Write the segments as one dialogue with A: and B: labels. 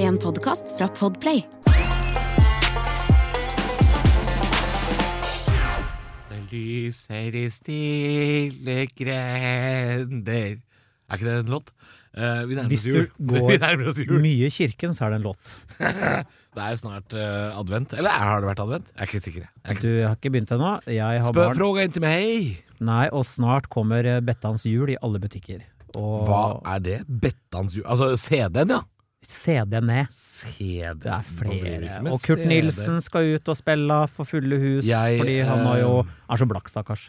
A: En podkast fra Podplay.
B: Det lyser i stille grender Er ikke det en låt? Eh, vi nærmer
C: Hvis
B: oss jul.
C: du går-
B: vi nærmer oss jul.
C: Mye i kirken, så er det en låt.
B: Det er jo snart eh, advent. Eller er- har det vært advent? Jeg er ikke helt sikker. jeg. Jeg er
C: Du
B: ikke
C: jeg har ikke begynt ennå. Jeg har
B: Spør
C: barn.
B: fråga inn til meg!
C: Nei, og snart kommer eh, Bettans jul i alle butikker. Og
B: Hva er det? Bettans jul? Altså CD-en, ja.
C: CD ned.
B: CD-en.
C: Det er flere. Og Kurt Nilsen skal ut og spille for fulle hus,
B: Jeg,
C: fordi han har jo
B: eh,
C: er så blakk, stakkars.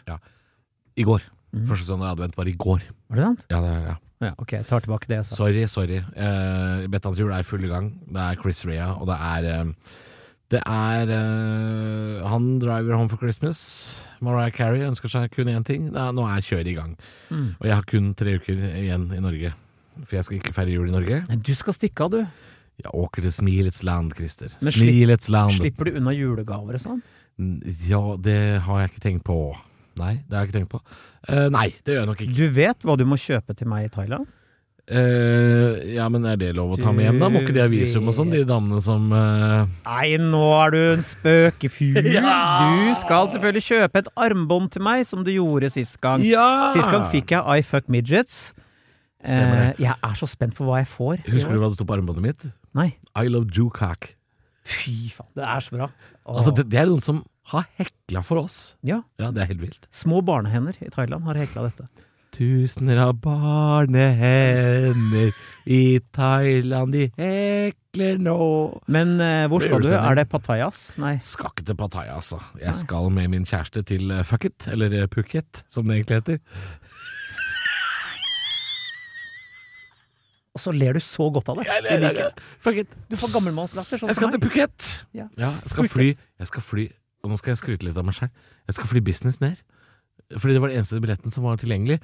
B: I går. Første søndag i advent var i går.
C: Var det sant?
B: Ja, det, ja.
C: Mm. Ja, ok, jeg tar tilbake det jeg sa.
B: Sorry, sorry. Uh, Bettans jul er i full gang. Det er Chris Rea, og det er eh, Det er eh, Han driver home for Christmas. Mariah Carey ønsker seg kun én ting. Det er, nå er kjøret i gang.
C: Mm.
B: Og jeg har kun tre uker igjen i Norge. For jeg skal ikke feire jul i Norge.
C: Nei, Du skal stikke av, du.
B: Jeg åker til smilets land, Christer.
C: Men slipp-
B: Smilets land.
C: Slipper du unna julegaver og sånn?
B: Ja, det har jeg ikke tenkt på. Nei, det har jeg ikke tenkt på. Eh, nei, det gjør jeg nok ikke.
C: Du vet hva du må kjøpe til meg i Thailand?
B: Eh, ja, men er det lov å ta med hjem, da? Må ikke de ha visum og sånn, de damene som eh,
C: Nei, nå er du en spøkefugl! Du skal selvfølgelig kjøpe et armbånd til meg, som du gjorde sist gang.
B: Ja!
C: Sist gang fikk jeg I Fuck Midgets.
B: Stemmer
C: Eh, jeg er så spent på hva jeg får.
B: Husker du hva det sto på armbåndet mitt?
C: Nei.
B: I love Jukak.
C: Fy faen, det er så bra. Åh.
B: Altså, det, det er noen som har hekla for oss.
C: Ja.
B: Ja, det er helt vilt.
C: Små barnehender i Thailand har hekla dette.
B: Tusener av barnehender i Thailand, de hekler nå.
C: Men eh, hvor
B: Det er
C: skal du?
B: julestemning.
C: Er det Pattayas? Nei.
B: Skal ikke til Pattaya, altså. Jeg skal med min kjæreste til eh, Phuket, eller eh, Phuket, som det egentlig heter.
C: Og så ler du så godt av det.
B: Jeg
C: Jeg
B: ler,
C: liker
B: jeg
C: det.
B: Phuket.
C: Du får gammelmannslatter sånn
B: Jeg skal
C: som
B: til
C: meg.
B: Phuket!
C: Ja.
B: jeg skal fly, jeg skal fly og Nå skal jeg skryte litt av meg selv. Jeg skal fly business ned. Fordi det var den eneste billetten som var tilgjengelig.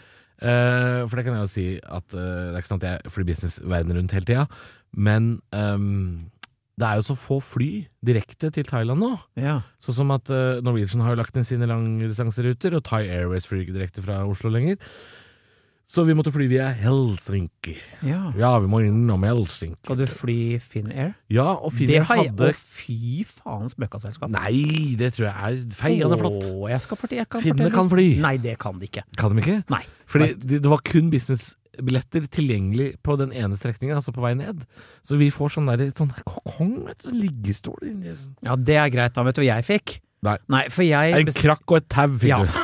B: Eh, for det kan jeg jo si at eh, det er ikke sånn at jeg flyr business verden rundt hele tida. Men ehm, det er jo så få fly direkte til Thailand nå.
C: Ja.
B: Sånn som at eh, Norwegian har jo lagt ned sine langdistanseruter, og Thai Airways flyr ikke direkte fra Oslo lenger. Så vi måtte fly via Helsinki.
C: ja.
B: Ja, vi må innom Helsinki.
C: Skal du fly Finnair?
B: Ja, og
C: Det
B: Finnair
C: har jeg
B: hadde
C: Å, fy faen, spøkaselskap.
B: Nei, det tror jeg er feiende flott.
C: Å, jeg skal fortelle, jeg kan
B: Finnene
C: fortelle-
B: kan fly.
C: Nei, det kan de ikke.
B: Kan de ikke?
C: Nei.
B: Fordi det, det var kun businessbilletter tilgjengelig på den ene strekningen, altså på vei ned. Så vi får sånn der sånn kokong, vet du, sånn liggestol inni sånn.
C: Ja, det er greit, da. Vet du hva jeg fikk?
B: Nei.
C: Nei, for jeg
B: En krakk og et tau fikk
C: Ja.
B: du.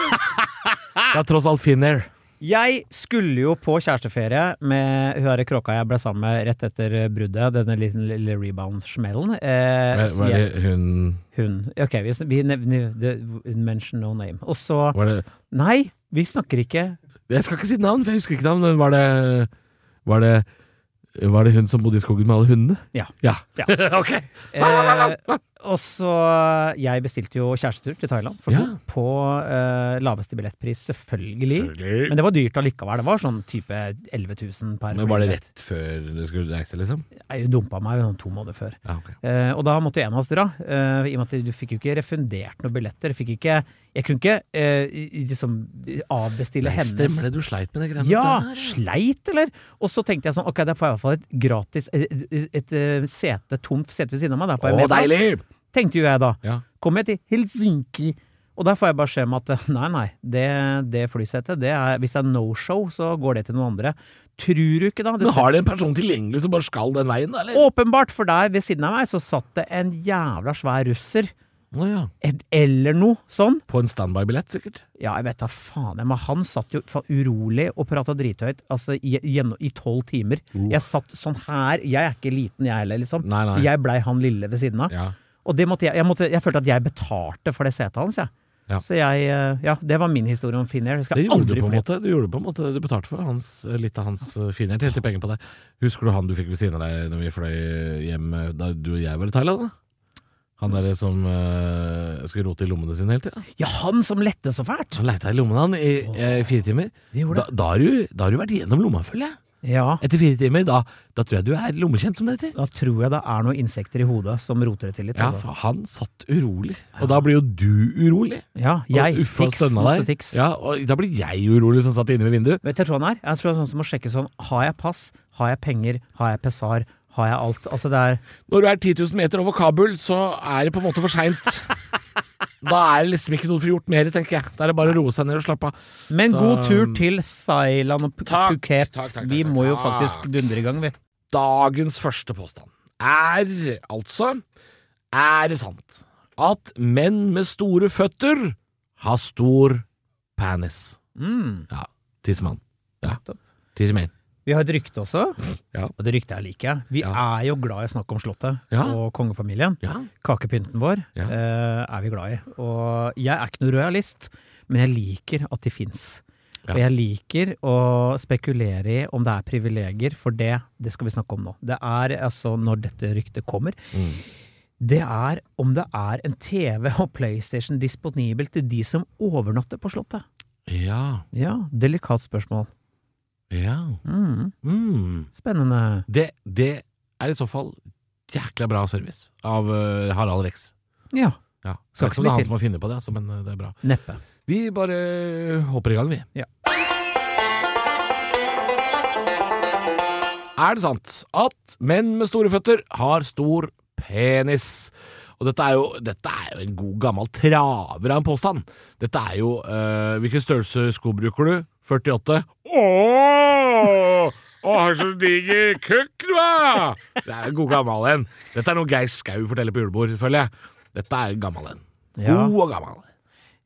B: Det er tross alt Finnair.
C: Jeg skulle jo på kjæresteferie med hun her kråka jeg ble sammen med rett etter bruddet. Denne lille, lille rebound-smellen. Eh,
B: Var,
C: som
B: var det
C: jeg-
B: hun
C: Hun. Ok, vi, sn- vi nev- nev- det- mention no name. Og så
B: var det,
C: Nei, vi snakker ikke
B: Jeg skal ikke si navn, for jeg husker ikke navn, men var det Var det, var det hun som bodde i skogen med alle hundene?
C: Ja.
B: ja.
C: Ja.
B: ok.
C: eh, Og så Jeg bestilte jo kjærestetur til Thailand for
B: Ja.
C: to på eh, laveste billettpris, selvfølgelig. Men det var dyrt allikevel. Det var sånn type 11 000 per
B: Men var det
C: flybillett.
B: rett før du skulle reise, liksom?
C: Jeg dumpa meg jo sånn to måneder før.
B: Ja, ok.
C: Eh, og da måtte jo en av oss dra, eh, i og med at du fikk jo ikke refundert noen billetter. Fikk ikke, jeg kunne ikke eh, i- i- liksom, avbestille
B: Nei,
C: hennes
B: Stemmer det, du sleit med det greiene
C: Ja!
B: der.
C: Sleit, eller? Og så tenkte jeg sånn, ok, da får jeg i hvert fall et gratis et, et, et eh, sete, tomt sete ved siden av meg. Der får jeg
B: Å,
C: mer plass,
B: deilig!
C: Tenkte jo jeg da.
B: Ja.
C: Kom jeg til Helsinki, og der får jeg bare skjed om at eh, nei, nei, det, det flysetet, det er, hvis det er no show, så går det til noen andre. Tror du ikke da? det
B: Men har de en person tilgjengelig som bare skal den veien, da, eller?
C: Åpenbart, for der ved siden av meg så satt det en jævla svær russer,
B: Å ja.
C: et- eller noe sånn.
B: På en standby-billett, sikkert.
C: Ja, jeg vet da faen, jeg, men han satt jo fa- urolig og prata drithøyt altså, i, gjennom- i tolv timer. Jeg satt sånn her, jeg er ikke liten jeg heller, liksom.
B: Nei, Oh. nei.
C: Jeg blei han lille ved siden av.
B: Ja.
C: Og det måtte jeg, jeg, måtte, jeg følte at jeg betalte for det setet hans, jeg.
B: Ja.
C: Så jeg, eh, ja, det var min historie om Finnair. Jeg skal
B: Det gjorde du
C: aldri
B: på en
C: fly.
B: måte. Du gjorde det på en måte Du betalte for hans, litt av hans eh, finhet. Helt i penger på det. Husker du han du fikk ved siden av deg når vi fløy hjem eh, da du og jeg var i Thailand? da? Han derre som eh, skulle rote i lommene sine hele tida?
C: Ja, han som lette så fælt!
B: Han leita i lommene han i eh, fire timer.
C: Det gjorde
B: Da, da, har du, da har du vært gjennom lomma, føler jeg.
C: Ja.
B: Etter fire timer. Da, da tror jeg du er lommekjent, som det heter.
C: Da tror jeg det er noen insekter i hodet som roter det til litt.
B: Ja,
C: altså.
B: for han satt urolig. Og da blir jo du urolig.
C: Ja,
B: Og
C: jeg.
B: uffe og
C: Tics,
B: stønna
C: masse
B: deg.
C: tics.
B: Ja, og da blir jeg urolig som satt inne ved vinduet.
C: Vet du hva han er? Jeg tror det er sånn som må sjekke sånn Har jeg pass? Har jeg penger? Har jeg pessar? har jeg alt. Altså, det er
B: Når du er 10 000 meter over Kabul, så er det på en måte for seint. Da er det liksom ikke noe for gjort mer, tenker jeg. Da er det bare å roe seg ned og slappe av.
C: Men
B: Så- um,
C: god tur til Thailand og Pu-
B: Takk,
C: Phuket.
B: takk, takk,
C: Vi
B: takk,
C: må jo
B: takk.
C: faktisk dundre i gang, vi.
B: Dagens første påstand er altså Er det sant at menn med store føtter har stor penis?
C: Mm.
B: Ja. Tissemann. Ja.
C: Nettopp.
B: Tissemann.
C: Vi har et rykte også,
B: Ja.
C: og det ryktet jeg liker. Vi
B: Ja.
C: er jo glad i å snakke om Slottet
B: Ja.
C: og kongefamilien.
B: Ja.
C: Kakepynten vår
B: Ja.
C: eh, er vi glad i. Og jeg er ikke noe rojalist, men jeg liker at de fins.
B: Ja.
C: Og jeg liker å spekulere i om det er privilegier, for det, det skal vi snakke om nå. Det er altså, når dette ryktet kommer,
B: Mm.
C: det er om det er en TV og PlayStation disponibel til de som overnatter på Slottet.
B: Ja.
C: Ja, delikat spørsmål.
B: Ja.
C: Mm,
B: Mm.
C: spennende.
B: Det, det er i så fall jækla bra service av eh, Harald Rex.
C: Ja,
B: Ja. Jeg vet ikke om
C: Skal ikke
B: det er
C: mye til.
B: han som har funnet på det, altså, men eh, det er bra.
C: neppe.
B: Vi bare hopper i gang, vi.
C: Ja.
B: Er det sant at menn med store føtter har stor penis? Og dette er jo, dette er jo en god gammel traver av en påstand. Dette er jo eh, Hvilken størrelse sko bruker du? 48? Ååå! Å, har så diger kukk, du er! Det er en god gammel en. Dette er noe Geir Skau forteller på julebord, føler jeg. Dette er en gammel en.
C: Ja.
B: God og gammel.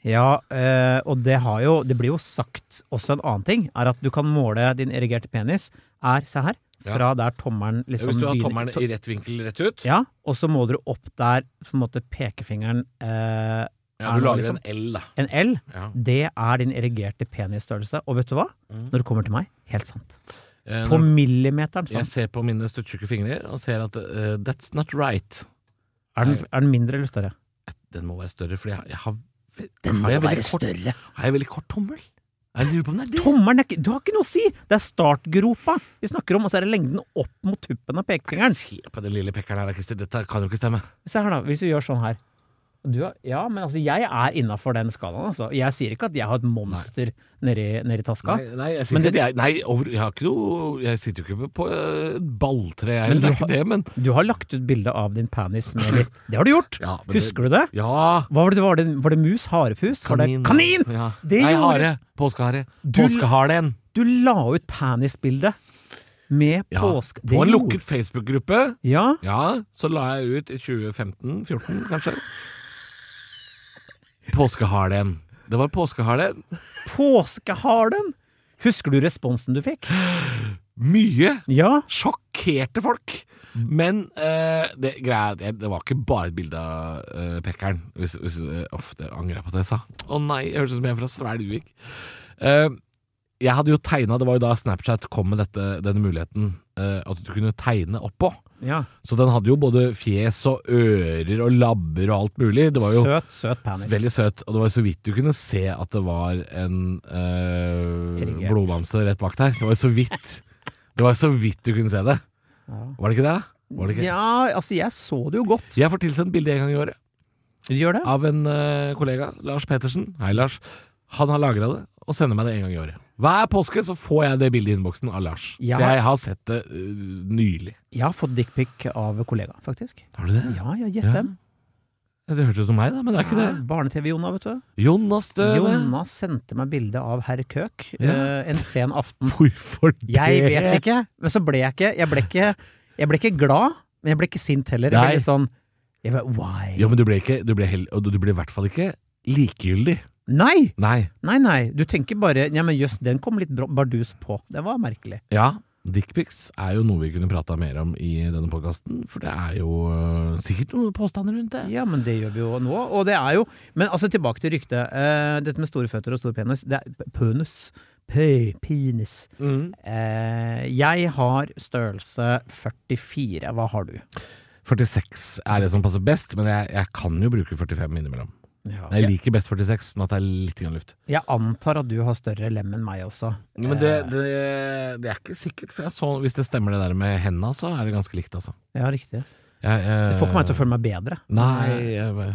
C: Ja, eh, og det, har jo, det blir jo sagt også en annen ting, er at du kan måle din erigerte penis er, se her,
B: Ja.
C: fra der tommelen
B: Ja,
C: liksom
B: Hvis du har
C: begynner-
B: tommelen
C: to-
B: i rett vinkel rett ut,
C: Ja, og så måler du opp der på en måte pekefingeren eh,
B: ja,
C: er
B: du
C: nå
B: lager
C: liksom-
B: en L, da.
C: en L.
B: Ja.
C: Det er din erigerte penisstørrelse. Og vet du hva? Når det kommer til meg, helt sant.
B: Eh,
C: På
B: Mm. når
C: millimeteren
B: jeg
C: sant.
B: ser på mine stuttjukke fingre og ser at eh, that's not right.
C: Er den, er den mindre eller større?
B: Den må være større, fordi jeg, jeg har, har, jeg veldig kort,
C: større.
B: har jeg veldig kort tommel. Jeg lurer på om det er det.
C: Tommelen er ikke Du har ikke noe å si! Det er startgropa vi snakker om, og så er det lengden opp mot tuppen av pekefingeren.
B: Se på den lille pekkeren her, da, Christer. Dette kan jo ikke stemme.
C: Se her, da. Hvis vi gjør sånn her. Du, er- ja, men altså, jeg er innafor den skalaen, altså. Jeg sier ikke at jeg har et monster nedi, nedi taska.
B: Nei, nei, jeg,
C: Men
B: sitter, jeg, nei over, jeg, har ikke noe, jeg sitter jo ikke på eh, et balltre, jeg.
C: Men
B: Det er
C: du
B: ikke det, men
C: Du har lagt ut bilde av din penis med litt Det har du gjort!
B: Ja, men det-
C: Husker du det?
B: Ja!
C: Hva var det, var det, var det mus? Harepus? Var det kanin!
B: Ja.
C: Det
B: nei,
C: gjorde-
B: hare. Påskehare.
C: Du-
B: Påskeharen.
C: Du la ut penisbilde med
B: Ja.
C: påske... Det
B: På en
C: gjorde-
B: lukket Facebook-gruppe.
C: Ja.
B: Ja, så la jeg ut i 2015-14, kanskje. Påskeharen. Det var påskeharen.
C: Påskeharen! Husker du responsen du fikk?
B: Mye
C: Ja.
B: sjokkerte folk. Men eh, det, greia, er at jeg- det var ikke bare et bilde av eh, pekkeren. Hvis, hvis, eh, uff, det angrer jeg på at jeg sa. Å nei, jeg hørtes ut som jeg er fra Svelvik. Eh, jeg hadde jo tegna Det var jo da Snapchat kom med dette, denne muligheten. eh, at du kunne tegne oppå.
C: ja.
B: Så den hadde jo både fjes og ører og labber og alt mulig. Det var jo
C: Søt, søt penis.
B: Veldig søt, og det var så vidt du kunne se at det var en eh,
C: Erigert.
B: blodbamse rett bak der. Det var så vidt. Det var så vidt du kunne se det.
C: Ja.
B: Var det ikke det? Var det ikke?
C: Ja, altså, jeg så det jo godt.
B: Jeg får tilsendt bilde en gang i året
C: Du gjør det?
B: av en eh, kollega, Lars Petersen. Hei, Lars. Han har lagra det og sender meg det en gang i året. Hver påske så får jeg det bildet i innboksen av Lars.
C: Ja.
B: Så jeg har sett det eh, nylig.
C: Jeg har fått dickpic av kollega, faktisk.
B: Har du det?
C: Ja, ja, gjett
B: Ja,
C: hvem?
B: Det hørtes ut som meg, da, men det er ikke det.
C: Ja, Barne-TV-Jonna, vet du.
B: Jonas Støve.
C: Jonna sendte meg bilde av herr Køk
B: Ja.
C: eh, en sen aften.
B: Hvorfor det?
C: Jeg vet ikke, men så ble jeg ikke Jeg ble ikke, jeg ble ikke glad, men jeg ble ikke sint heller. Jeg
B: Nei.
C: ble litt sånn jeg ble, Why?
B: Ja, men du ble ikke Du ble, hell, og du ble i hvert fall ikke likegyldig.
C: Nei!
B: Nei.
C: Nei, nei. Du tenker bare Ja, men jøss, den kom litt bra- bardus på. Det var merkelig.
B: Ja, dickpics er jo noe vi kunne prata mer om i denne podkasten, for det er jo øh, sikkert noen påstander rundt det.
C: Ja, men det gjør vi jo nå, og det er jo Men altså, tilbake til ryktet. Eh, dette med store føtter og stor penis. Det er pønus. Pøy, penis.
B: Mm.
C: Eh, jeg har størrelse 44. Hva har du?
B: 46 er det som passer best, men jeg, jeg kan jo bruke 45 innimellom. Men Jeg
C: Jeg,
B: liker best 46, sånn at det er litt grann luft.
C: jeg antar at du har større lem enn meg også.
B: Men det, det, det er ikke sikkert, for jeg så, hvis det stemmer det der med henda, så er det ganske likt, altså.
C: Ja, riktig.
B: Jeg,
C: Det får ikke meg til å føle meg bedre.
B: Nei, jeg,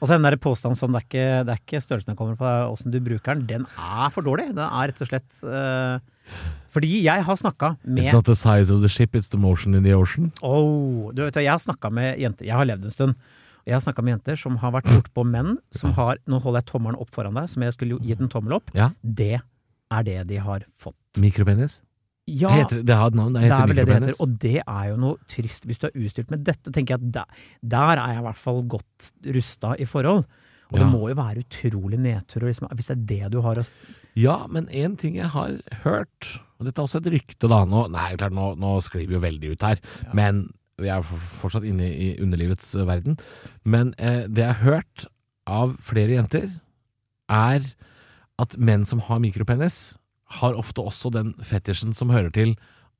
C: Og så den der påstanden som det er ikke, det er ikke størrelsen jeg kommer på, det er åssen du bruker den, den er for dårlig. Den er rett og slett eh, Fordi jeg har snakka
B: It's
C: med
B: not the size of the ship, it's the motion in the ocean.
C: oh, du vet, hva, Jeg har snakka med jenter Jeg har levd en stund. Og Jeg har snakka med jenter som har vært bortpå menn som har Nå holder jeg tommelen opp foran deg, som jeg skulle jo gitt en tommel opp.
B: Ja.
C: Det er det de har fått.
B: Mikropenis?
C: Ja,
B: Heter, det- det har et navn, det
C: det er
B: heter
C: vel det det heter.
B: mikropenis.
C: Og det er jo noe trist hvis du er utstyrt med dette. tenker jeg at der, der er jeg i hvert fall godt rusta i forhold. Og det
B: Ja.
C: må jo være utrolig nedtur å liksom, hvis det er det du har å s-
B: Ja, men én ting jeg har hørt, og dette er også et rykte da Nå, nei, klart, nå, nå sklir vi jo veldig ut her, men vi er f- fortsatt inne i underlivets eh, verden. Men eh, det jeg har hørt av flere jenter, er at menn som har mikropenis, har ofte også den fetisjen som hører til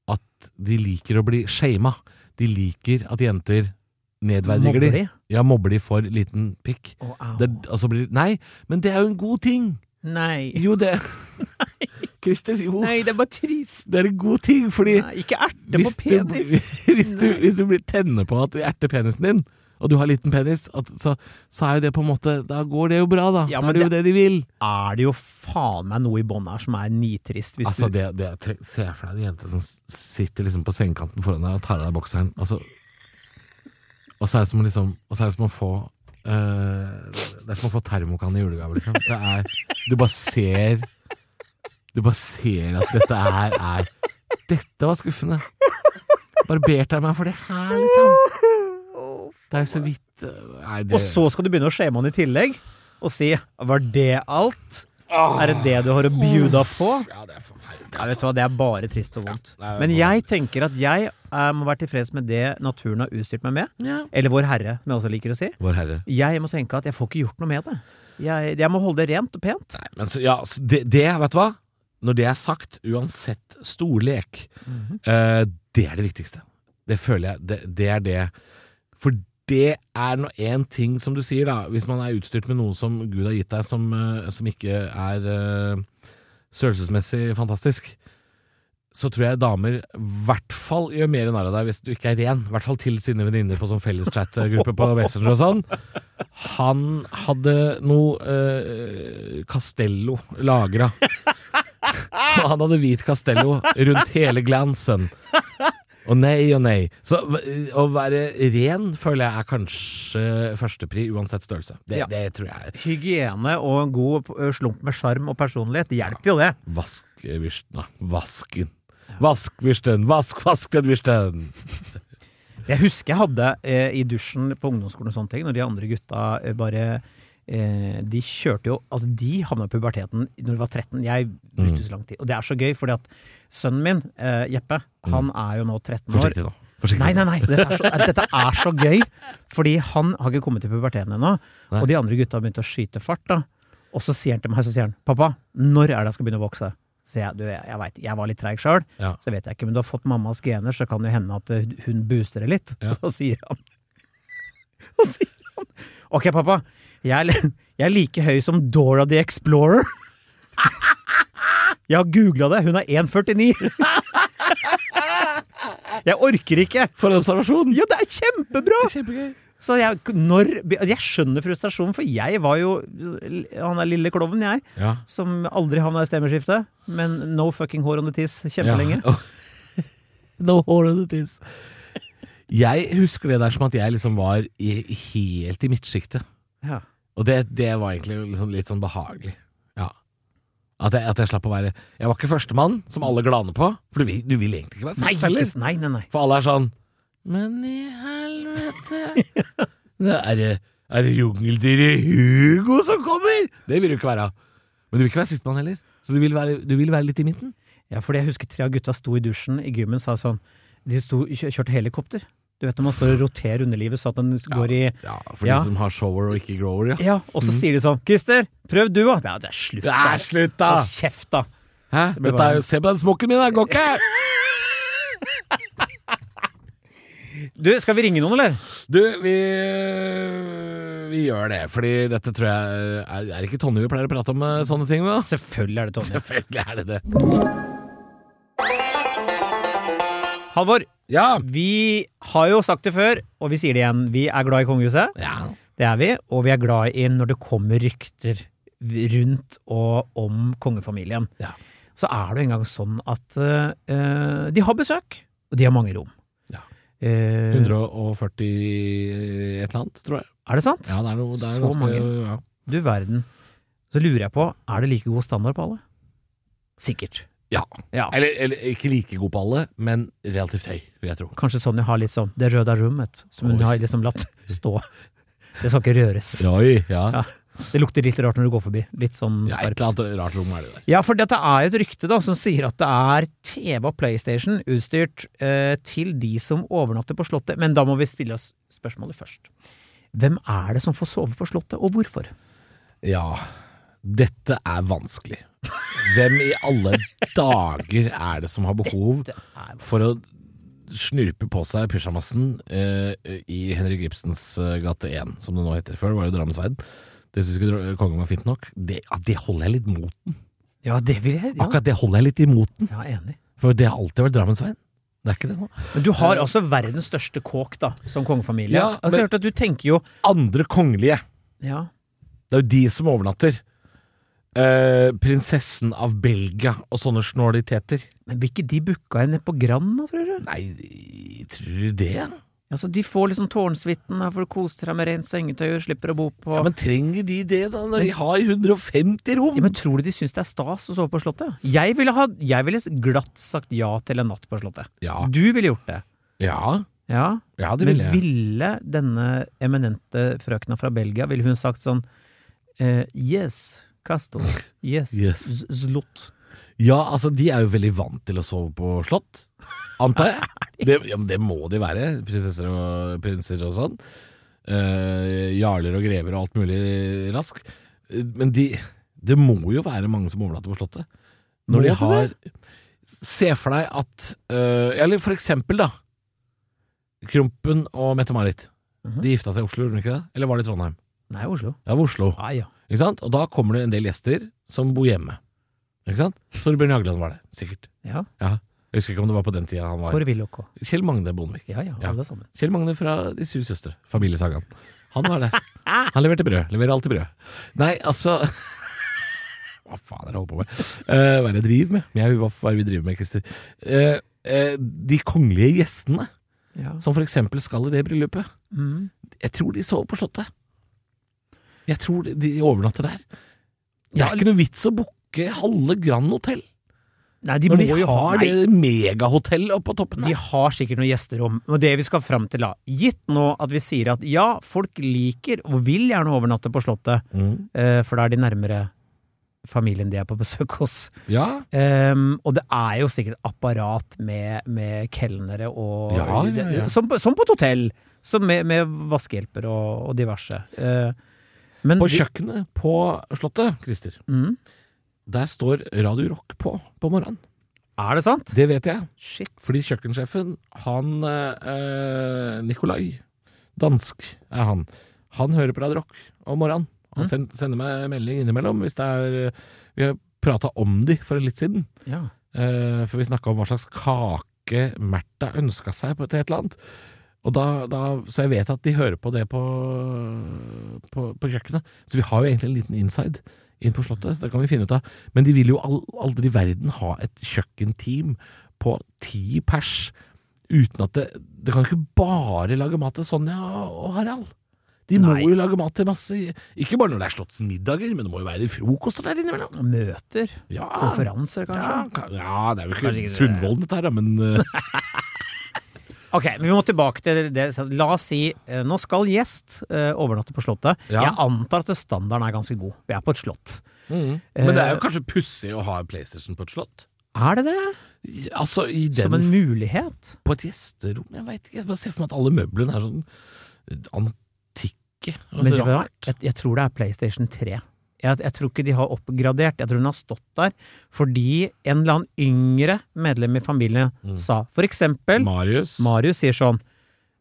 B: at de liker å bli shama. De liker at jenter nedverdiger
C: mobber
B: de.
C: i.
B: Ja, mobber de for liten pikk.
C: Å, au.
B: Det, altså blir, nei, men det er jo en god ting!
C: Nei.
B: Jo, det Christer, jo.
C: Nei, det er bare trist.
B: Det er en god ting, fordi
C: Nei, ikke erte på
B: hvis, du,
C: penis.
B: hvis, du,
C: Nei.
B: hvis du blir tenner på at det erter penisen din, og du har liten penis, at, så, så er jo det på en måte Da går det jo bra, da.
C: Ja,
B: da
C: men
B: er det jo det de vil.
C: Er det jo faen meg noe i bånn her som er nitrist, hvis
B: Altså,
C: du
B: det, det, tenk- Se for deg en jente som s- sitter liksom på sengekanten foran deg og tar av deg bokseren, og så Og så er det som å liksom Og så er det som å få eh, Det er som å få termokan i julegave, liksom. Det er Du bare ser Du bare ser at dette her er Dette var skuffende. Barberte jeg meg for det her, liksom? Det er jo så vidt eh, Nei, det
C: Og så skal du begynne å shame han i tillegg, og si 'var det alt'? Er det det du har å bjuda på?
B: Ah. Ja, det er forferdelig. altså.
C: Ja, vet du hva, Det er bare trist og vondt.
B: Ja, det er
C: Men
B: bare-
C: jeg tenker at jeg eh, må være tilfreds med det naturen har utstyrt meg med.
B: Ja.
C: Eller Vår Herre, som jeg også liker å si.
B: Vår Herre.
C: Jeg må tenke at jeg får ikke gjort noe med det. Jeg, jeg må holde det rent og pent.
B: Nei, men så, ja, så det, det, vet du hva? Når det er sagt, uansett storlek, eh, det er det viktigste. Det føler jeg, det, det er det. For det er nå én ting, som du sier, da, hvis man er utstyrt med noe som Gud har gitt deg, som, eh, som ikke er eh, størrelsesmessig fantastisk, så tror jeg damer i hvert fall gjør mer narr av deg hvis du ikke er ren. I hvert fall til sine venninner på sånn felleschat-gruppe på Messenger og sånn. Han hadde noe eh, Castello lagra. Og han hadde hvit Castello rundt hele glansen. Og nei og nei. Så eh, å være ren føler jeg er kanskje førstepri, uansett størrelse. Det,
C: Ja.
B: det tror jeg er
C: Hygiene og en god eh, slump med sjarm og personlighet det hjelper jo, det.
B: Vaskvirsten Nei, vasken. Vaskvirsten, vask, vask den virsten!
C: Jeg husker jeg hadde eh, i dusjen på ungdomsskolen og sånne ting, når de andre gutta eh, bare eh, De kjørte jo Altså, de havna i puberteten når de var 13. Jeg
B: Mm.
C: brukte så lang tid. Og det er så gøy, fordi at sønnen min, eh, Jeppe, han er jo nå 13
B: Mm.
C: år.
B: Forsiktig nå. Forsiktig.
C: Nei, nei, nei. Dette er, så, eh, dette er så gøy. Fordi han har ikke kommet til puberteten ennå.
B: Nei.
C: Og de andre gutta har begynt å skyte fart. da. Og så sier han til meg, så sier han, pappa, når er det jeg skal begynne å vokse? Så jeg, du, jeg, jeg vet, jeg var litt treig sjøl,
B: Ja.
C: så vet jeg ikke. Men du har fått mammas gener, så kan det jo hende at eh, hun booster det litt.
B: Ja.
C: Og da sier han Da sier han Ok, pappa. Jeg er, li- jeg er like høy som Dora the Explorer. Jeg har googla det. Hun er 1,49. Jeg orker ikke.
B: For en observasjon!
C: Ja, det er kjempebra!
B: Kjempegøy.
C: Så jeg, når, jeg skjønner frustrasjonen, for jeg var jo han er lille klovnen, jeg.
B: Ja.
C: Som aldri havna i stemmeskiftet. Men no fucking hår on the tiss kjempelenge.
B: Ja. no hole in the tiss. Jeg husker det der som at jeg liksom var i, helt i midtsjiktet.
C: Ja.
B: Og det, det var egentlig liksom litt sånn behagelig. Ja. At jeg, at jeg slapp å være Jeg var ikke førstemann, som alle glaner på. For du vil, du vil egentlig ikke være
C: Nei,
B: først
C: ikke,
B: heller.
C: nei, nei, nei.
B: For alle er sånn Men i helvete Det Er det, er det jungeldyret Hugo som kommer? Det vil du ikke være Men du vil ikke være sistemann heller Så du vil være, du vil være litt i midten
C: Ja, fordi jeg husker tre av gutta sto i dusjen i gymmen sa sånn De sto, kjø- kjørte helikopter. Du vet når man står og roterer underlivet så at den går i
B: Ja, for
C: Ja.
B: de som har shower og ikke grower ja.
C: Ja, og så sier de sånn Christer, prøv du, da! Ja, det er slutt, da!
B: Ja, slutt da
C: Hold kjeft, da!
B: Hæ?
C: Det
B: Dette
C: var-
B: er jo, se på den smokken min, det går ikke
C: Du, skal vi ringe noen, eller?
B: Du, vi, vi gjør det Fordi dette tror jeg Er, er det ikke Tonje vi pleier å prate om eh, sånne ting med? da?
C: Selvfølgelig er det Tonje.
B: Selvfølgelig er det det
C: Halvor,
B: Ja
C: Vi har jo sagt det før, og vi sier det igjen. Vi er glad i kongehuset.
B: Ja
C: Det er vi. Og vi er glad i når det kommer rykter rundt og om kongefamilien.
B: Ja.
C: så er det jo engang sånn at eh, de har besøk, og de har mange rom.
B: Ja.
C: Eh,
B: 140 et eller annet, tror jeg.
C: er det sant?
B: Ja, det er noe det er
C: Så
B: ganske,
C: mange.
B: Ja.
C: Du verden. Så lurer jeg på, er det like god standard på alle? Sikkert.
B: Ja.
C: Ja.
B: Eller, eller ikke like god på alle, men relativt høy, vil jeg tro.
C: Kanskje Sonja har litt sånn det røde rommet, som hun
B: Oi.
C: har liksom latt stå. Det skal ikke røres.
B: Oi, ja.
C: Ja. Det lukter litt rart når du går forbi. Litt sånn
B: ja, et
C: skarp.
B: eller annet rart rom er det der.
C: Ja, for dette er jo et rykte da, som sier at det er TV og PlayStation utstyrt eh, til de som overnatter på Slottet. Men da må vi spille oss spørsmålet først. Hvem er det som får sove på Slottet, og hvorfor?
B: Ja, dette er vanskelig. Hvem i alle dager er det som har behov
C: Det er
B: for å snurpe på seg pysjamasen eh, i Henry Gibsons eh, gate 1, som det nå heter. Før var det Drammensveien. Det syns ikke dra- kongen var fint nok. Det, ja, det holder jeg litt mot.
C: Ja, det vil jeg. Ja,
B: Akkurat det holder jeg litt imot den,
C: ja enig.
B: for det har alltid vært Drammensveien. Det er ikke det nå.
C: Men du har altså verdens største kåk, da, som kongefamilie.
B: Eh. Ja,
C: Altså, Det er
B: men-
C: klart at du tenker jo
B: Andre kongelige
C: Ja,
B: Det er jo de som overnatter. Eh, prinsessen av Belgia og sånne snåliteter.
C: men blir ikke de booka ned på Grand, da, tror du?
B: Nei, tror du det?
C: Altså, de får liksom tårnsuiten her for å kose seg med rent sengetøy, og slipper å bo på
B: Ja, Men trenger de det, da, når de har 150 rom?
C: Ja, men tror du de syns det er stas å sove på Slottet? Jeg ville, ha, jeg ville glatt sagt ja til en natt på Slottet.
B: Ja,
C: Du ville gjort det.
B: ja,
C: Ja,
B: ja det
C: Men
B: vil jeg.
C: ville denne eminente frøkna fra Belgia, ville hun sagt sånn eh, Yes, Castle. Yes,
B: Yes.
C: Z- Zlot.
B: Ja, altså, de er jo veldig vant til å sove på slott, antar jeg. Det, ja, men det må de være, prinsesser og prinser og sånn. Eh, jarler og grever og alt mulig rask. Eh, Men de Det må jo være mange som overnatter på Slottet.
C: Må
B: Når de
C: det
B: har Se for deg at eh, Eller for eksempel, da. Krompen og Mette-Marit.
C: Mhm.
B: De gifta seg i Oslo, gjorde de ikke det? Eller var det i Trondheim?
C: Nei, Oslo.
B: Ja, det var Oslo.
C: Ah, ja.
B: Ikke sant? Og da kommer det en del gjester som bor hjemme. Ikke sant? Torbjørn Jagland var der, sikkert.
C: ja.
B: Ja. Jeg husker ikke om det var på den tida han var
C: Kåre Willoch òg.
B: Kjell Magne Bondevik.
C: Ja, ja,
B: Ja.
C: alle sammen.
B: Kjell Magne fra De syv søstre, familiesagaen. Han var der. Han leverte brød. Leverer alltid brød. Nei, altså Hva faen er det jeg holder på med? Eh, hva er det jeg driver med? Men jeg, hva hva er det vi driver med, Christer? Eh, eh, de kongelige gjestene
C: Ja.
B: som for eksempel skal i det bryllupet,
C: Mm.
B: jeg tror de sover på Slottet. Jeg tror de- de overnatter der. Det
C: Ja,
B: er ikke noe vits å booke halve Grand Hotell
C: Nei, de
B: når
C: må
B: de
C: jo ha
B: har
C: nei,
B: det megahotellet oppå toppen
C: De
B: der.
C: har sikkert noen gjesterom. Og det vi skal fram til, da. Gitt nå at vi sier at ja, folk liker og vil gjerne overnatte på Slottet,
B: Mm.
C: eh, for da er de nærmere familien de er på besøk hos.
B: Ja,
C: Ehm, og det er jo sikkert apparat med, med kelnere og
B: Ja, ja, ja.
C: Som, på- som på et hotell! Som med, med vaskehjelper og, og diverse. Eh, men
B: på
C: de-
B: kjøkkenet på Slottet, Christer,
C: Mm.
B: der står Radio Rock på på morgenen.
C: Er det sant?
B: Det vet jeg,
C: Shit.
B: fordi kjøkkensjefen, han eh, Nikolai, dansk er han, han hører på Radio Rock om morgenen. Han
C: Mm.
B: send, sender meg melding innimellom hvis det er eh, Vi har prata om de for litt siden.
C: Ja.
B: Eh, for vi snakka om hva slags kake Märtha ønska seg på, til et eller annet. Og da, da, så jeg vet at de hører på det på, på, på kjøkkenet. Så vi har jo egentlig en liten inside inn på Slottet, så det kan vi finne ut av. Men de vil jo al aldri i verden ha et kjøkkenteam på ti pers uten at det Det kan ikke bare lage mat til Sonja og Harald. De må
C: Nei.
B: jo lage mat til masse Ikke bare når det er slottsmiddager, men det må jo være frokoster der innimellom.
C: Møter?
B: Ja,
C: Konferanser, kanskje?
B: ja, ka- ja, det er jo
C: Kanskje
B: ikke
C: ikke det.
B: Sundvolden dette her, da, men eh,
C: Ok, men vi må tilbake til det. La oss si eh, nå skal gjest eh, overnatte på Slottet.
B: Ja.
C: Jeg antar at standarden er ganske god. Vi er på et slott.
B: Men
C: Mm. Eh,
B: det er jo kanskje pussig å ha en PlayStation på et slott?
C: Er det det?
B: I- Altså, i
C: Som en
B: den
C: mulighet?
B: på et gjesterom? Jeg veit ikke. Jeg bare ser for meg at alle møblene er sånn antikke. og
C: Men
B: så
C: det var,
B: rart.
C: jeg, jeg tror det er PlayStation 3. Jeg, jeg tror ikke de har oppgradert. Jeg tror den har stått der fordi en eller annen yngre medlem i familien
B: Mm.
C: sa for eksempel
B: Marius.
C: Marius sier sånn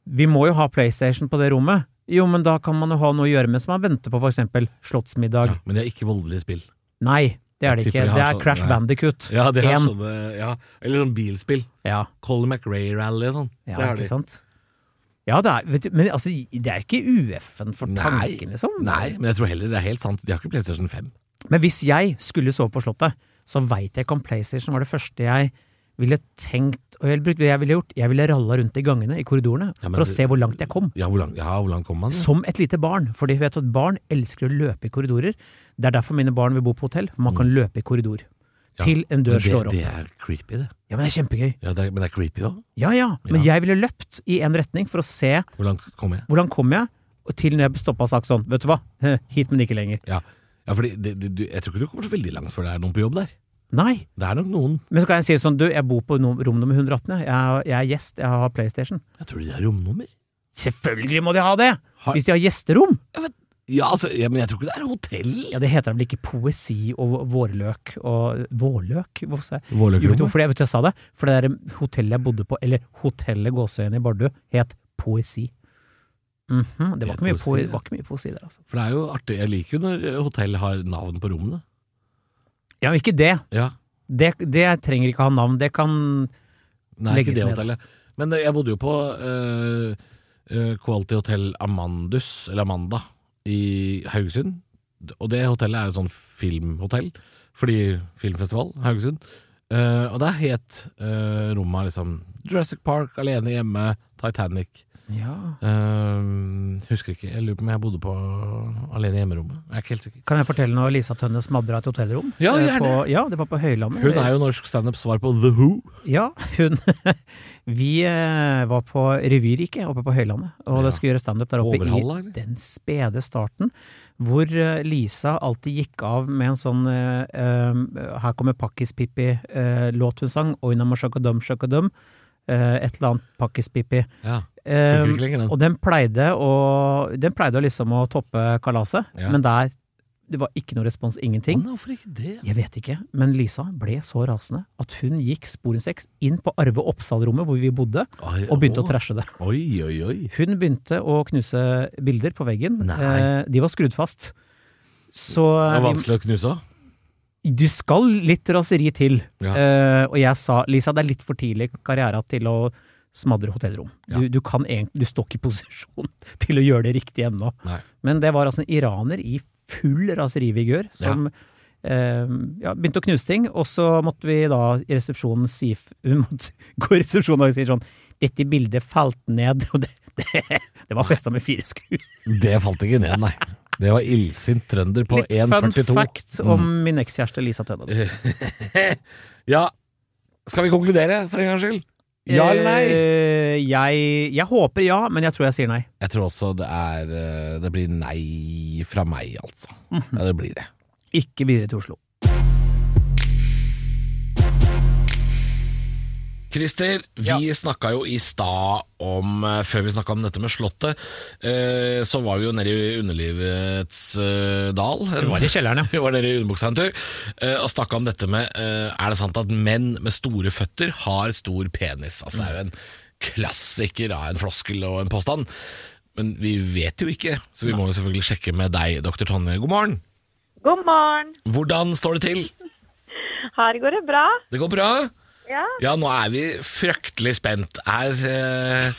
C: Vi må jo ha PlayStation på det rommet. Jo, men da kan man jo ha noe å gjøre mens man venter på for eksempel slottsmiddag.
B: ja, men det er ikke voldelige spill.
C: Nei, det er det
B: Jeg
C: ikke.
B: tipper de
C: Det
B: har
C: er
B: sånn-
C: Crash
B: nei.
C: Bandicoot.
B: Ja, det er sånn.
C: En.
B: sånne, ja. Eller sånn bilspill.
C: Ja,
B: Colin McRae-rally og sånn.
C: ja
B: det har de.
C: ikke sant? Ja, det er, vet du, men altså, det er ikke UF-en for
B: Nei.
C: tanken, liksom.
B: Nei, men jeg tror heller det er helt sant. De har ikke PlayStation 5.
C: Men hvis jeg skulle sove på Slottet, så veit jeg ikke om PlayStation var det første jeg ville tenkt og jeg, jeg ville gjort. Jeg ville ralla rundt i gangene, i korridorene,
B: Ja, men
C: for å
B: det-
C: se hvor langt jeg kom.
B: Ja, hvor langt, ja, hvor langt kommer man?
C: Som et lite barn, fordi vi vet at barn elsker å løpe i korridorer. Det er derfor mine barn vil bo på hotell, for man kan løpe i korridor.
B: Mm. Ja,
C: Til en dør
B: Men
C: slår opp.
B: Det, det er creepy, det.
C: Ja, men det er kjempegøy.
B: Ja, det er, men det er creepy òg.
C: Ja, ja. Men jeg ville løpt i én retning for å se
B: Hvor langt kom jeg?
C: hvordan kom jeg, og til når jeg stoppa og sagt sånn, vet du hva, hit, men ikke lenger.
B: Ja, ja fordi det, det, du, Jeg tror ikke du kommer så veldig langt før det er noen på jobb der.
C: Nei.
B: Det er nok noen.
C: Men så kan jeg si sånn, du, jeg bor på no- rom nummer 118, jeg, Jeg er- jeg er gjest, jeg har PlayStation.
B: Jeg tror de har romnummer.
C: Selvfølgelig må de ha det!
B: Har-
C: Hvis de har gjesterom!
B: Ja, altså, ja, Men jeg tror ikke det er hotell.
C: Ja, det heter da vel ikke poesi og vårløk og Vårløk? Hvorfor sa jeg Jo, vet du
B: Vårløkrommet?
C: hvorfor jeg, vet du, jeg sa det? For det der hotellet jeg bodde på, eller hotellet Gåsøyene i Bardu, het Poesi. Mhm, det, var
B: Het
C: ikke mye
B: Poesi,
C: poe-
B: ja.
C: det var ikke mye poesi der, altså.
B: For det er jo artig. Jeg liker jo når hotell har navn på rommene.
C: Ja, men ikke det.
B: Ja,
C: det. Det trenger ikke ha navn. Det kan
B: Nei, ikke
C: Legges
B: det
C: ned.
B: hotellet. Men eh, jeg bodde jo på eh, eh, Quality Hotel Amandus, eller Amanda, i Haugesund. Og det hotellet er jo sånn filmhotell, fordi filmfestival, Haugesund. Eh, og der het uh, rommet liksom Jurassic Park, Alene hjemme, Titanic.
C: Ja.
B: Eh, husker ikke, jeg lurer på om jeg bodde på Alene hjemme-rommet. Jeg er ikke helt sikker.
C: Kan jeg fortelle når Lisa Tønne smadra et hotellrom?
B: Ja,
C: Eh,
B: gjerne.
C: På, ja, det var på Høylandet.
B: Hun er jo norsk standup-svar på The Who.
C: Ja, hun Vi eh, var på Revyriket oppe på Høylandet, og
B: Ja.
C: det skulle gjøre standup der oppe
B: Overhalla,
C: i
B: eller?
C: den spede starten, hvor eh, Lisa alltid gikk av med en sånn eh, eh, Her kommer Pakkis-Pippi-låt hun sang, Oinam og Shakadum Shakadum, eh, et eller annet Pakkis-Pippi.
B: Ja,
C: Eh,
B: Funker ikke lenger, den.
C: og den pleide å, den pleide å liksom å toppe kalaset,
B: Ja.
C: men der det var ikke noe respons, ingenting.
B: Men Hvorfor ikke det?
C: Jeg vet ikke, men Lisa ble så rasende at hun gikk sporenstreks inn på Arve Oppsal-rommet hvor vi bodde,
B: Oi,
C: og begynte å trashe det.
B: Oi, oi, oi.
C: Hun begynte å knuse bilder på veggen.
B: Nei.
C: Eh, De var skrudd fast. Så
B: Det var
C: vi-
B: vanskelig å knuse òg.
C: du skal litt raseri til.
B: Ja.
C: Eh, og jeg sa Lisa, det er litt for tidlig karriera til å smadre hotellrom. Du,
B: Ja.
C: du, kan egentlig, du står ikke i posisjon til å gjøre det riktig ennå.
B: Nei.
C: Men det var altså en iraner i full raserivigør som eh, ja, begynte å knuse ting. Og så måtte vi da i resepsjonen si f- Hun måtte gå i resepsjonen og si sånn Dette bildet falt ned. Og det, det, det var festa med fire skruer.
B: Det falt ikke ned, nei. Det var illsint trønder på
C: Litt fun
B: 1,42.
C: fact om min ekskjæreste Lisa Tønne.
B: Ja, skal vi konkludere for en gangs skyld? Ja eller nei?
C: Eh, Jeg, jeg håper ja, men jeg tror jeg sier nei.
B: Jeg tror også det er eh, Det blir nei fra meg, altså. Ja, det blir det.
C: Ikke videre til Oslo.
B: Christer, vi
C: Ja.
B: snakka jo i stad om eh, Før vi snakka om dette med Slottet, eh, så var vi jo nede i underlivets eh, dal.
C: var i kjelleren, ja.
B: Vi var nede i underbuksa en tur eh, og snakka om dette med eh, Er det sant at menn med store føtter har stor penis? Altså Det er jo en klassiker av en floskel og en påstand. Men vi vet jo ikke, så vi må jo selvfølgelig sjekke med deg, doktor Tonje. God morgen.
A: God morgen.
B: Hvordan står det til?
A: Her går det bra.
B: Det går bra?
A: Ja.
B: Ja, nå er vi fryktelig spent. Er eh,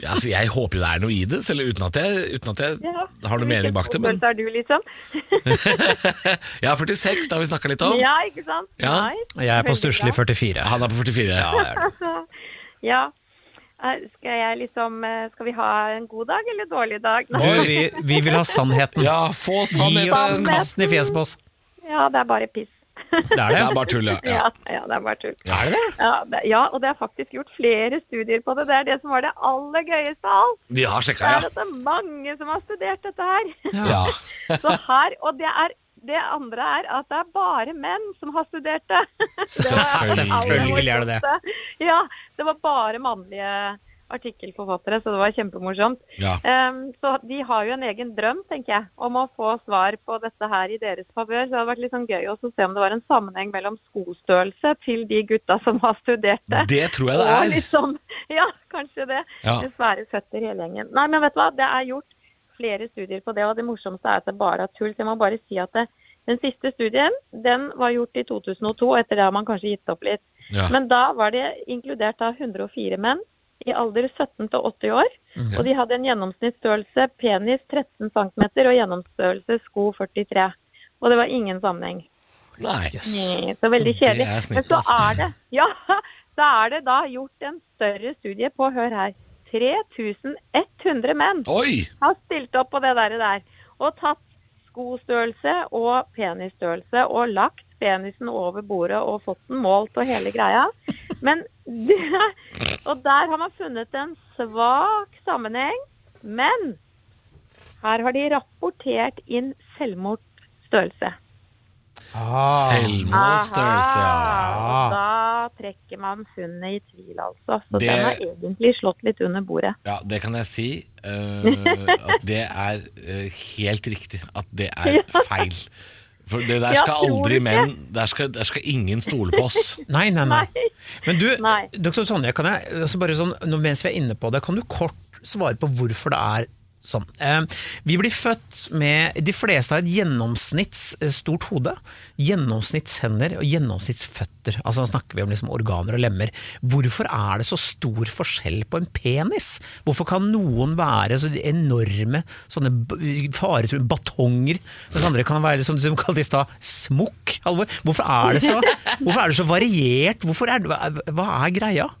B: ja, altså, Jeg håper jo det er noe i det, selv uten at jeg, uten at jeg
A: ja.
B: har noe mening bak det. Men
A: Hvilken fotfølelse er du, liksom?
B: jeg er 46, det har vi snakka litt om.
A: Ja, ikke sant?
B: Ja.
A: Nice.
C: Jeg er på
A: Veldig
C: stusslig
A: bra.
C: 44.
B: Han er på 44.
A: Ja. Er- Skal jeg liksom eh, Skal vi ha en god dag eller dårlig dag?
C: Du, vi, vi vil ha sannheten.
B: ja få
C: Gi oss
B: sannheten!
C: kasten i fjeset på oss.
A: Ja, det er bare piss.
C: Det
B: Det
C: er det.
B: er bare tull, ja. ja.
A: Ja, ja det er bare tull.
B: Er det det?
A: Ja, det, ja, og det er faktisk gjort flere studier på det. Det er det som var det aller gøyeste av alt.
B: De har
A: Det
B: sjekka, ja.
A: er at det er mange som har studert dette her.
B: ja.
A: Så her, Og det, er, det andre er at det er bare menn som har studert det. Det var det
C: Selvfølgelig er det det.
A: aller morsomste. Ja, det var bare mannlige artikkelforfattere, så det var kjempemorsomt.
B: ja.
A: Ehm, så de har jo en egen drøm, tenker jeg, om å få svar på dette her i deres favør. Så det hadde vært litt sånn gøy også å se om det var en sammenheng mellom skostørrelse til de gutta som har studert det.
B: Det tror jeg det
A: Og
B: er.
A: liksom, ja, kanskje det.
B: Ja.
A: Med svære føtter hele gjengen. Nei, men vet du hva, det er gjort flere studier på det, og det morsomste er at det bare er tull. Så jeg må bare si at det, den siste studien, den var gjort i 2002, og etter det har man kanskje gitt opp litt.
B: Ja.
A: Men da var det inkludert av 104 menn i alder 17 til 80 år, og de hadde en gjennomsnittsstørrelse penis 13 cm og gjennomsstørrelse sko 43. Og det var ingen sammenheng.
B: Nei.
A: Nei, Så veldig
B: Så det
A: kjedelig.
B: er snitt,
A: Men så
B: altså.
A: er det, ja, så er det da gjort en større studie på, hør her, 3100 menn
B: Oi!
A: har stilt opp på det der, der og tatt skostørrelse og penisstørrelse og lagt penisen over bordet og fått den målt og hele greia. Men det, og der har man funnet en svak sammenheng, men her har de rapportert inn selvmordsstørrelse.
C: Ah.
B: Selvmålstørrelse, ja.
A: Aha, og Da trekker man funnet i tvil, altså. Så
B: Det-
A: den har egentlig slått litt under bordet.
B: Ja, det kan jeg si. eh, at det er eh, helt riktig. At det er feil. For det der
A: Ja,
B: skal
A: tror du
B: aldri
A: ikke?
B: menn Der skal, der skal ingen stole på oss.
C: Nei, nei, nei.
A: Nei.
C: Men du,
A: Nei.
C: doktor Sonja, kan jeg, altså bare sånn, nå mens vi er inne på det, kan du kort svare på hvorfor det er sånn? Eh, Vi blir født med De fleste har et gjennomsnitts eh, stort hode, gjennomsnittshender og gjennomsnittsføtter. Altså da snakker vi om liksom organer og lemmer. Hvorfor er det så stor forskjell på en penis? Hvorfor kan noen være så enorme sånne b- faretru- batonger, mens andre kan være som, som kalte i stad smokk? Alvor. Hvorfor er det så, hvorfor er det så variert? Hvorfor er, det- hva- hva er greia?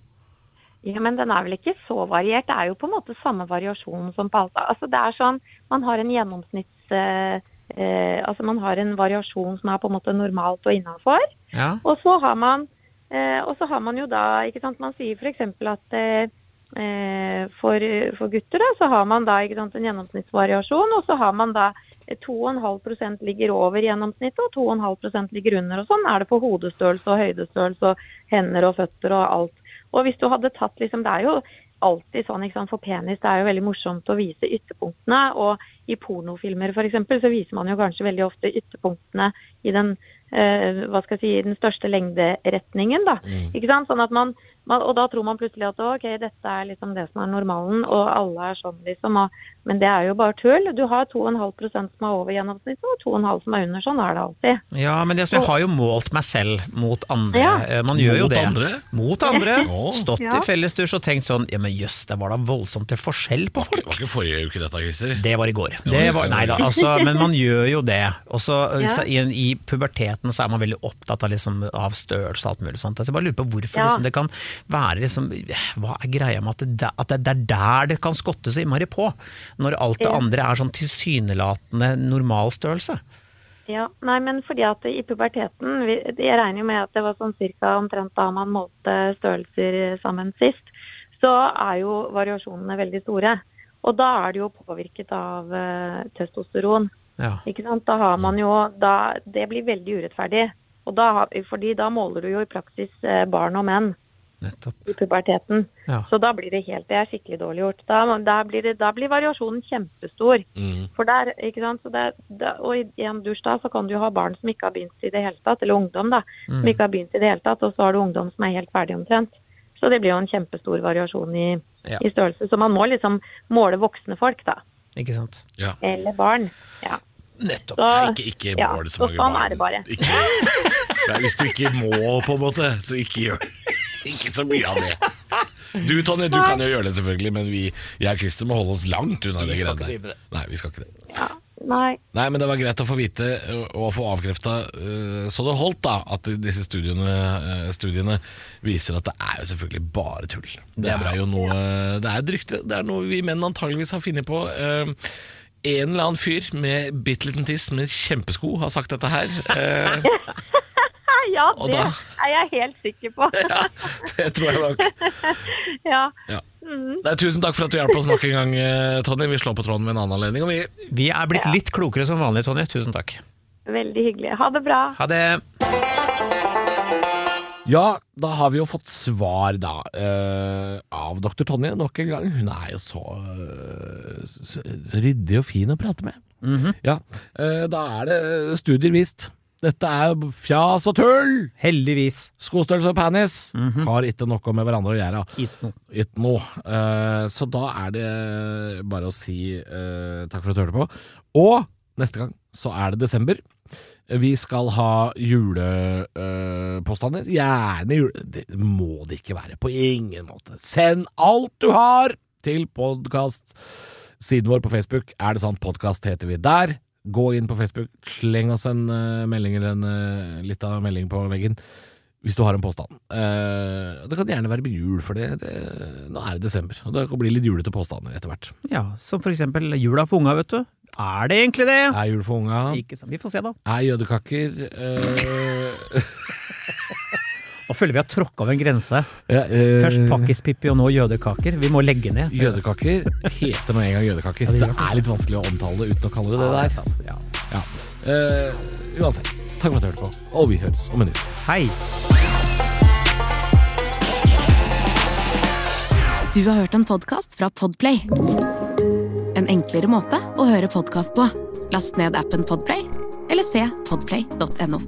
A: Ja, men den er vel ikke så variert. Det er jo på en måte samme variasjon som på alt. Altså, det er sånn, man har en gjennomsnitts... Eh, eh, altså, man har en variasjon som er på en måte normalt og innenfor.
C: Ja.
A: Og så har man, eh, og så har man jo da, ikke sant, man sier f.eks. at eh, eh, for, for gutter da, så har man da ikke sant, en gjennomsnittsvariasjon, og så har man da eh, 2,5 ligger over gjennomsnittet, og 2,5 ligger under. Og sånn er det på hodestørrelse og høydestørrelse og hender og føtter og alt. Og hvis du hadde tatt liksom, det er jo alltid sånn ikke sant, for penis, det er jo veldig morsomt å vise ytterpunktene. Og i pornofilmer f.eks. så viser man jo kanskje veldig ofte ytterpunktene i den eh, hva skal jeg si, i den største lengderetningen. da, ikke sant, sånn at man, man, Og da tror man plutselig at ok, dette er liksom det som er normalen, og alle er sånn liksom. Og, men det er jo bare tull. Du har 2,5 som er over gjennomsnittet, og 2,5 som er under. Sånn er det alltid.
C: Ja, men det som jeg har jo målt meg selv mot andre.
A: Ja.
C: Eh, Man gjør jo
B: Mot
C: det.
B: andre?
C: Mot andre.
B: Ja.
C: Stått
A: Ja.
C: i fellesdusj og tenkt sånn Ja, men jøss, det var da voldsomt til forskjell på
B: Det
C: folk.
B: var ikke forrige uke, dette, Christer.
C: Det var i går.
B: var
C: Det
B: i
C: var,
B: går.
C: nei da, altså, men man gjør jo det. Og så
A: Ja.
C: så i, I puberteten så er man veldig opptatt av, liksom, av størrelse og alt mulig sånt. Altså, jeg bare lurer på hvorfor
A: Ja.
C: liksom, det kan være liksom, Hva er greia med at det, der- at det, det er der det kan skotte så innmari på? Når alt det
A: Ja.
C: andre er sånn tilsynelatende normal størrelse.
A: Ja, nei, men fordi at i puberteten vi- Jeg regner jo med at det var sånn cirka omtrent da man målte størrelser eh, sammen sist. Så er jo variasjonene veldig store. Og da er det jo påvirket av eh, testosteron.
C: Ja.
A: Ikke sant? Da har man jo da, Det blir veldig urettferdig. Og da, har- fordi da måler du jo i praksis eh, barn og menn
C: Nettopp.
A: i puberteten.
C: Ja.
A: Så da blir det helt Det er skikkelig dårlig gjort. Da, da, blir, det, da blir variasjonen kjempestor.
B: Mm.
A: For der, ikke sant? Så det, det, og i i en dusj da, så kan du jo ha barn som ikke har begynt i det hele tatt, eller ungdom da,
B: Mm.
A: som ikke har begynt i det hele tatt, og så har du ungdom som er helt ferdig omtrent. Så det blir jo en kjempestor variasjon i,
C: Ja.
A: i størrelse. Så man må liksom måle voksne folk da,
C: Ikke sant.
B: Ja.
A: eller barn. Ja.
C: Nettopp.
A: Så,
B: Nei, ikke, ikke
A: ja,
B: mål så
A: så
B: mange
A: sånn
B: barn.
A: er det bare.
B: Ikke, Nei, hvis du ikke må, på en måte, så ikke gjør ikke så mye av det. Du Tonje, du kan jo gjøre det selvfølgelig, men vi, jeg og Christer må holde oss langt unna det
C: skal
B: greiene
C: ikke drive
B: der.
C: det.
B: Nei, vi skal ikke det.
A: Nei,
B: Nei, men det var greit å få vite ø, og få avkrefta så det holdt, da, at disse studiene, ø, studiene viser at det er jo selvfølgelig bare tull. Det,
C: er
B: er,
C: bra.
B: jo noe Det er et rykte. Det er noe vi menn antageligvis har funnet på. Ø, en eller annen fyr med bitte liten tiss med kjempesko har sagt dette her. Eh,
A: ja,
B: Og
A: det
B: da-
A: er jeg helt sikker på.
B: Ja, det tror jeg nok.
A: ja.
B: Ja. Nei, tusen takk for at du hjalp oss nok en gang, eh, Tonje. Vi slår på tråden ved en annen anledning. Og vi
C: Vi er blitt litt klokere som vanlig, Tonje. Tusen takk.
A: Veldig hyggelig. Ha det bra.
C: Ha det.
B: Ja, da har vi jo fått svar da eh, av doktor Tonje nok en gang. Hun er jo så, eh, så, så ryddig og fin å prate med. Ja, eh, Da er det studier vist. Dette er fjas og tull!
C: Heldigvis.
B: Skostørrelse og penis har ikke noe med hverandre å gjøre.
C: Ikke noe.
B: Ikke noe. Eh, så da er det bare å si eh, takk for at du hørte på. Og neste gang så er det desember. Vi skal ha julepåstander. Gjerne jule... Det må det ikke være. På ingen måte. Send alt du har til podkast. Siden vår på Facebook er det sant podkast heter vi der. Gå inn på Facebook, sleng oss en eh, melding eller en uh, lita melding på veggen hvis du har en påstand. Eh, det kan gjerne være med jul, for det, det, nå er det desember. Og det kan bli litt julete påstander etter hvert.
C: Ja, Som for eksempel jula for unga, vet du. Er det egentlig det?
B: Er jul for unga?
C: Ikke sant. Vi får se, da.
B: Er jødekaker eh,
C: Nå føler vi har tråkka over en grense.
B: ja, eh,
C: Først pakkispippi og nå jødekaker. Vi må legge ned.
B: Jødekaker heter nå en gang jødekaker.
C: Ja, det gjør
B: det er litt vanskelig å omtale det uten å kalle det det. der.
C: sant. Ja.
B: Ja. Eh, uansett, takk for at du hørte på, og vi høres om en uke.
C: Hei.
D: Du har hørt en podcast fra Podplay En enklere måte å høre podcast på Last ned appen Podplay Eller se podplay.no